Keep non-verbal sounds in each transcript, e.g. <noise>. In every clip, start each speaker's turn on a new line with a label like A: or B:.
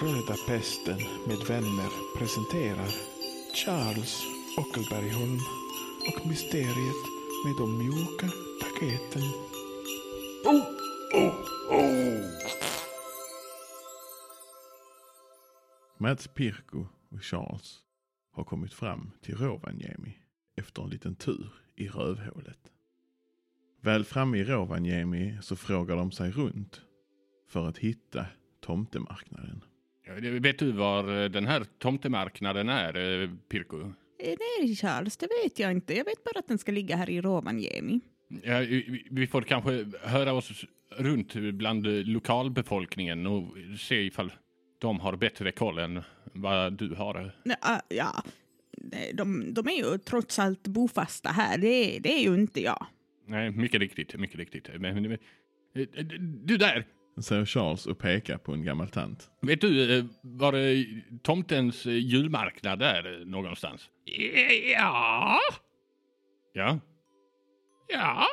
A: Röda pesten med vänner presenterar Charles Ockelbergholm och mysteriet med de mjuka paketen.
B: Oh, oh, oh.
A: Mats Pirko och Charles har kommit fram till Rovaniemi efter en liten tur i rövhålet. Väl framme i Rovaniemi så frågar de sig runt för att hitta tomtemarknaden.
C: Ja, det- Vet du var eh, den här tomtemarknaden är, eh, Pirko?
D: Eh, Nej, Charles, det vet jag inte. Jag vet bara att den ska ligga här i Rovaniemi.
C: Ja, vi- Vi får kanske höra oss runt bland eh, lokalbefolkningen och se ifall de har bättre koll än vad du har.
D: Nej, ah, ja. Nej, De, de är ju trots allt bofasta här. Det, det är ju inte jag.
C: Nej, mycket riktigt, mycket riktigt. Men, men, eh, du där!
A: Säger Charles och pekar på en gammal tant.
C: Vet du eh, var eh, tomtens eh, julmarknad är eh, någonstans?
B: Ja,
C: Ja,
B: ja.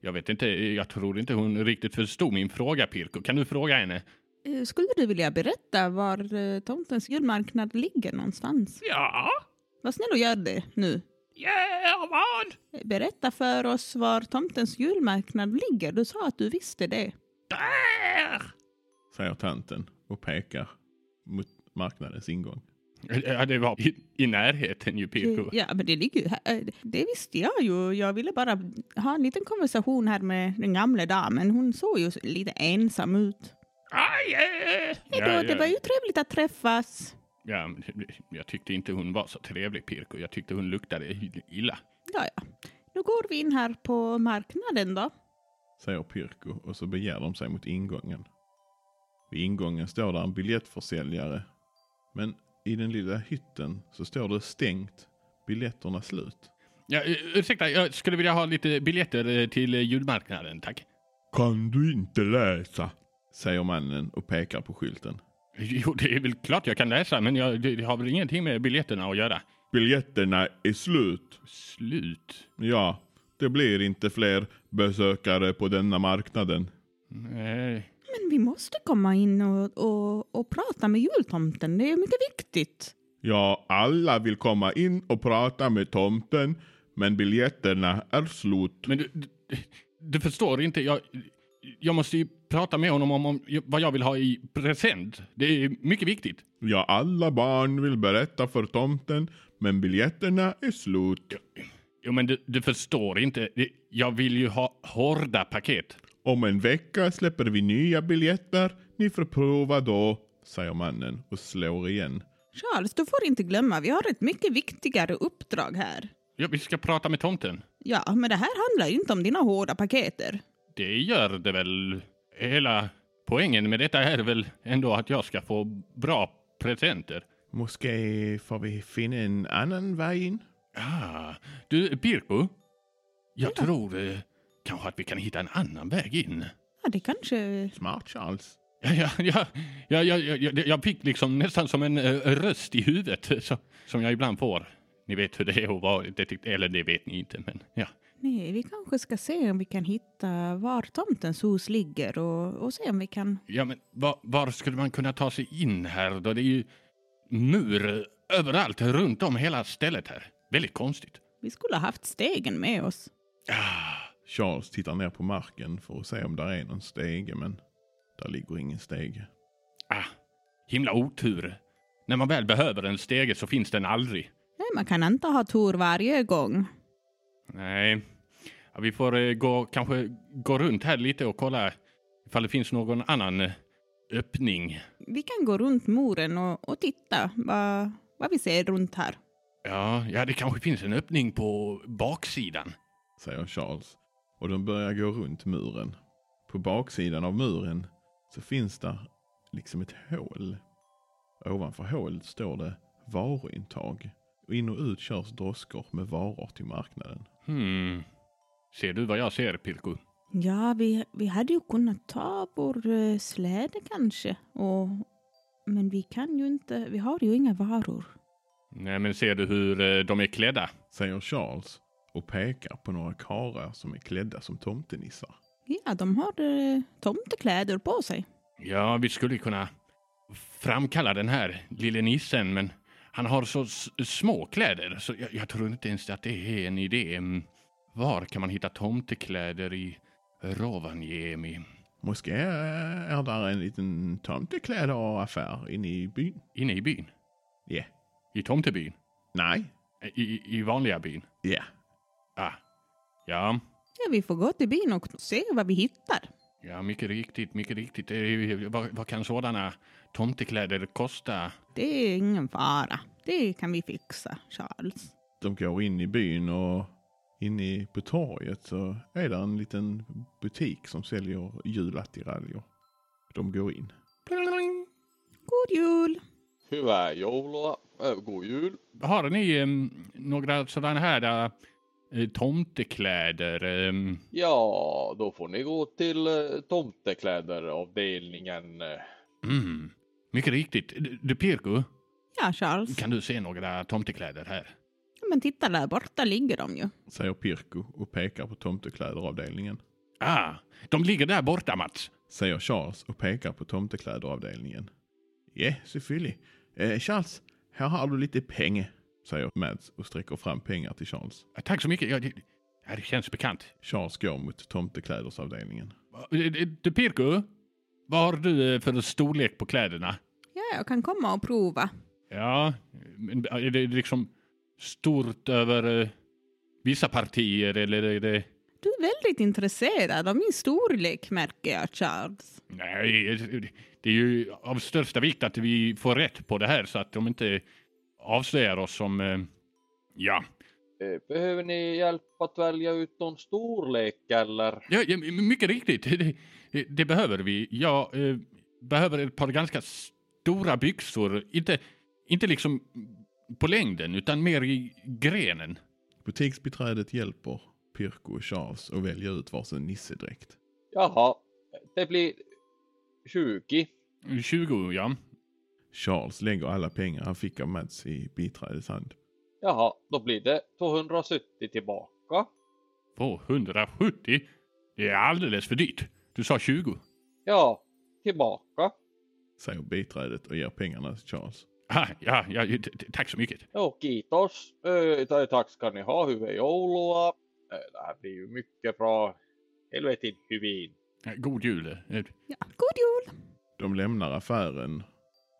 C: jag vet inte. Jag tror inte hon riktigt förstod min fråga, Pirko. Kan du fråga henne?
D: Eh, Skulle du vilja berätta var eh, tomtens julmarknad ligger någonstans?
B: Ja,
D: Var snäll och gör det nu.
B: ja, vad?
D: Eh, Berätta för oss var tomtens julmarknad ligger. Du sa att du visste det.
B: Där!
A: Säger tanten och pekar mot marknadens ingång.
C: Ja, det var i, i närheten ju, Pirko.
D: Ja, men det ligger ju här. Eh, Det visste jag ju. Jag ville bara ha en liten konversation här med den gamla damen. Hon såg ju lite ensam ut.
B: Aj, eh.
D: Hejdå,
C: Ja,
D: det
C: ja.
D: var ju trevligt att träffas.
C: Ja, men jag tyckte inte hon var så trevlig, Pirko. Jag tyckte hon luktade illa.
D: Ja, ja. Nu går vi in här på marknaden då.
A: Säger Pirko och så begär de sig mot ingången. Vid ingången står där en biljettförsäljare. Men i den lilla hytten så står det stängt. Biljetterna slut.
C: Ja, eh, ursäkta, jag skulle vilja ha lite biljetter eh, till eh, julmarknaden, tack.
A: Kan du inte läsa? Säger mannen och pekar på skylten.
C: Jo, det är väl klart jag kan läsa, men jag, det det har väl ingenting med biljetterna att göra.
A: Biljetterna är slut.
C: Slut.
A: Ja, det blir inte fler besökare på denna marknaden.
C: Nej.
D: Men vi måste komma in och, och, och prata med jultomten. Det är mycket viktigt.
A: Ja, alla vill komma in och prata med tomten, men biljetterna är slut.
C: Men du, du, du förstår inte, jag, jag måste ju prata med honom om, om vad jag vill ha i present. Det är mycket viktigt.
A: Ja, alla barn vill berätta för tomten, men biljetterna är slut.
C: Jo, men du, du förstår inte. Det- Jag vill ju ha hårda paket.
A: Om en vecka släpper vi nya biljetter. Ni får prova då, säger mannen och slår igen.
D: Charles, du får inte glömma, vi har ett mycket viktigare uppdrag här.
C: Ja, vi ska prata med tomten.
D: Ja, men det här handlar ju inte om dina hårda paketer.
C: Det gör det väl. Hela poängen med detta är väl ändå att jag ska få bra presenter.
A: Måske får vi finna en annan väg in?
C: Ah, du, Pirko. Jag tror eh, kanske att vi kan hitta en annan väg in.
D: Ja, det kanske...
A: Smart Charles.
C: Ja, ja, ja, ja, ja, ja, ja, jag fick liksom nästan som en eh, röst i huvudet eh, så, som jag ibland får. Ni vet hur det är att vara detektiv, eller det vet ni inte, men ja.
D: Nej, vi kanske ska se om vi kan hitta var tomtens hus ligger och, och se om vi kan...
C: Ja, men var, var skulle man kunna ta sig in här då? Det är ju mur överallt, runt om hela stället här. Väldigt konstigt. Ah,
D: Vi skulle ha haft stegen med oss.
A: Charles tittar ner på marken för att se om där är någon stege, men där ligger ingen stege.
C: Ah, himla otur. När man väl behöver en stege så finns den aldrig.
D: Nej, man kan inte ha tur varje gång.
C: Nej, ja, vi får eh, gå, kanske gå runt här lite och kolla ifall det finns någon annan eh, öppning.
D: Vi kan gå runt muren och, och titta vad, vad vi ser runt här.
C: Ja, ja, det kanske finns en öppning på baksidan.
A: säger Charles. Och de börjar gå runt muren. På baksidan av muren så finns där liksom ett hål. Ovanför hålet står det varuintag. Och in och ut körs droskor med varor till marknaden.
C: Hmm. Ser du vad jag ser, Pirko?
D: Ja, vi, vi hade ju kunnat ta vår eh, släde kanske. Och, men vi kan ju inte... Vi har ju inga varor.
C: Nej, men ser du hur eh, de är klädda?
A: Säger Charles och pekar på några karlar som är klädda som tomtenissar.
D: Ja, de har eh, tomtekläder på sig.
C: Ja, vi skulle kunna framkalla den här lille nissen men han har så s- små kläder så jag, jag tror inte ens att det är en idé. Mm. Var kan man hitta tomtekläder i Rovaniemi?
A: Måske är där en liten tomtekläderaffär inne i byn.
C: Inne i byn?
A: Ja.
C: I tomtebyn? Eh,
A: Nej.
C: I, i, i vanliga byn?
A: Ja.
C: Ah. Ja,
D: Ja, vi får gå till byn och se vad vi hittar.
C: ja, mycket riktigt, mycket riktigt. Eh, Vad, vad kan sådana tomtekläder kosta?
D: Det är ingen fara. Det kan vi fixa, Charles.
A: De går in i byn och inne på torget så är där en liten butik som säljer julattiraljer. De går in.
D: God jul!
E: Hyvää joulua, ö, god jul.
C: Har ni em, några sådana här eh, tomtekläder? ehm, em?
E: Ja, då får ni gå till eh, tomtekläderavdelningen. eh.
C: Mm. Mycket riktigt. Du- Du Pirko,
D: Ja, Charles.
C: kan du se några tomtekläder här?
D: Ja, Men titta, där borta ligger de ju.
A: Säger Pirko och pekar på tomtekläderavdelningen.
C: Ah, de ligger där borta Mats.
A: Säger Charles och pekar på tomtekläderavdelningen. Ja, selvfølgelig. Eh, Charles, här har du lite pengar. Säger Mads och sträcker fram pengar till Charles.
C: Ah, Tack så mycket. Ja, det, ja, det känns bekant. eh,
A: Charles går mot tomteklädersavdelningen.
C: Du Pirko, vad har du eh, för storlek på kläderna?
D: Ja, jag kan komma och prova.
C: Ja, men är det liksom stort över eh, vissa partier eller är det...
D: Du är väldigt intresserad av min storlek, märker jag, Charles.
C: Nej, det är ju av största vikt att vi får rätt på det här så att de inte avslöjar oss som... eh, Ja,
E: Eh, Behöver ni hjälp att välja ut någon storlek eller?
C: ja, ja my- mycket riktigt. <laughs> Det, det behöver vi. Jag eh, behöver ett par ganska stora byxor. Inte, inte liksom på längden, utan mer i grenen.
A: Butiksbiträdet hjälper Pirko och Charles att välja ut varsin nissedräkt.
E: Jaha, det blir 20.
C: 20, ja.
A: Charles lägger alla pengar han fick av Mads i biträdets hand.
E: Jaha, då blir det 270 tillbaka.
C: 270. Det är alldeles för dyrt. Du sa 20.
E: Ja, tillbaka.
A: Säger biträdet och ger pengarna till Charles.
C: Ah, ja, ja, t- t- tack så mycket.
E: Jo, kiitos. Ö, tai Eh, Tack ska ni ha, hyvää joulua. Ö, Det här blir ju mycket bra. Helvetin hyvin.
C: God jul. Eh,
D: Ja, god jul!
A: De lämnar affären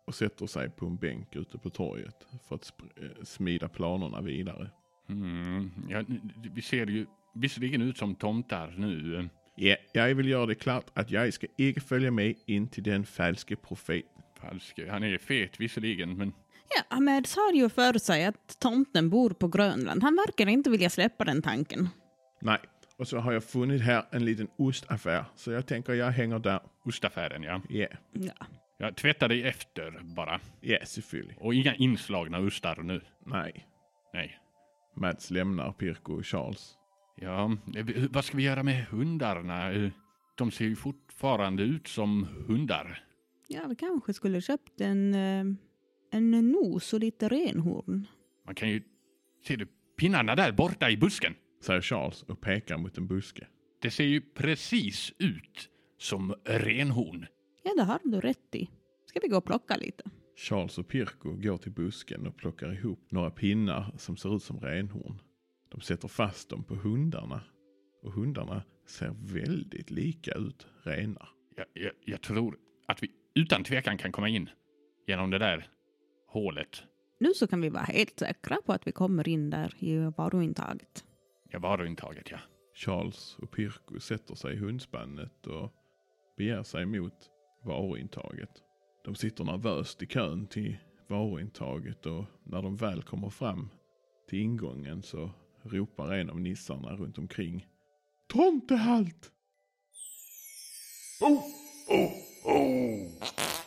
A: och sätter sig på en bänk ute på torget för att sp- eh, smida planerna vidare.
C: Mm, ja, vi ser ju visserligen ut som tomtar nu.
A: Ja, jag vill göra det klart att jag ska inte följa med in till den falske profeten.
C: Falsk. Han är fet visserligen, men
D: Ja, Ahmed har ju för sig att tomten bor på Grönland. Han verkar inte vilja släppa den tanken.
A: Nej, och så har jag funnit här en liten ostaffär så jag tänker jag hänger där.
C: ostaffären ja.
A: Ja,
D: Ja.
C: Jag tvättar dig efter bara.
A: ja, selvfølgelig.
C: Och inga inslagna ostar nu.
A: Nej.
C: Nej.
A: Mats lämnar Pirko och Charles.
C: Ja, eh, vi- vad ska vi göra med hundarna? Eh, De ser ju fortfarande ut som hundar.
D: Ja, vi kanske skulle köpt en, eh, en nos och lite renhorn.
C: Man kan ju... Ser du pinnarna där borta i busken?
A: Säger Charles och pekar mot en buske.
C: Det ser ju precis ut som renhorn.
D: Ja, det har du rätt i. Ska vi gå och plocka lite?
A: Charles och Pirko går till busken och plockar ihop några pinnar som ser ut som renhorn. De sätter fast dem på hundarna. Och hundarna ser väldigt lika ut renar.
C: Jag, jag, jag tror att vi utan tvekan kan komma in genom det där hålet.
D: Nu så kan vi vara helt säkra på att vi kommer in där i varuintaget.
C: Ja, varuintaget, ja.
A: Charles och Pirko sätter sig i hundspannet och begär sig mot varuintaget. De sitter nervöst i kön till varuintaget och när de väl kommer fram till ingången så ropar en av nissarna runt omkring Tomtehalt!
B: Oh, oh, oh.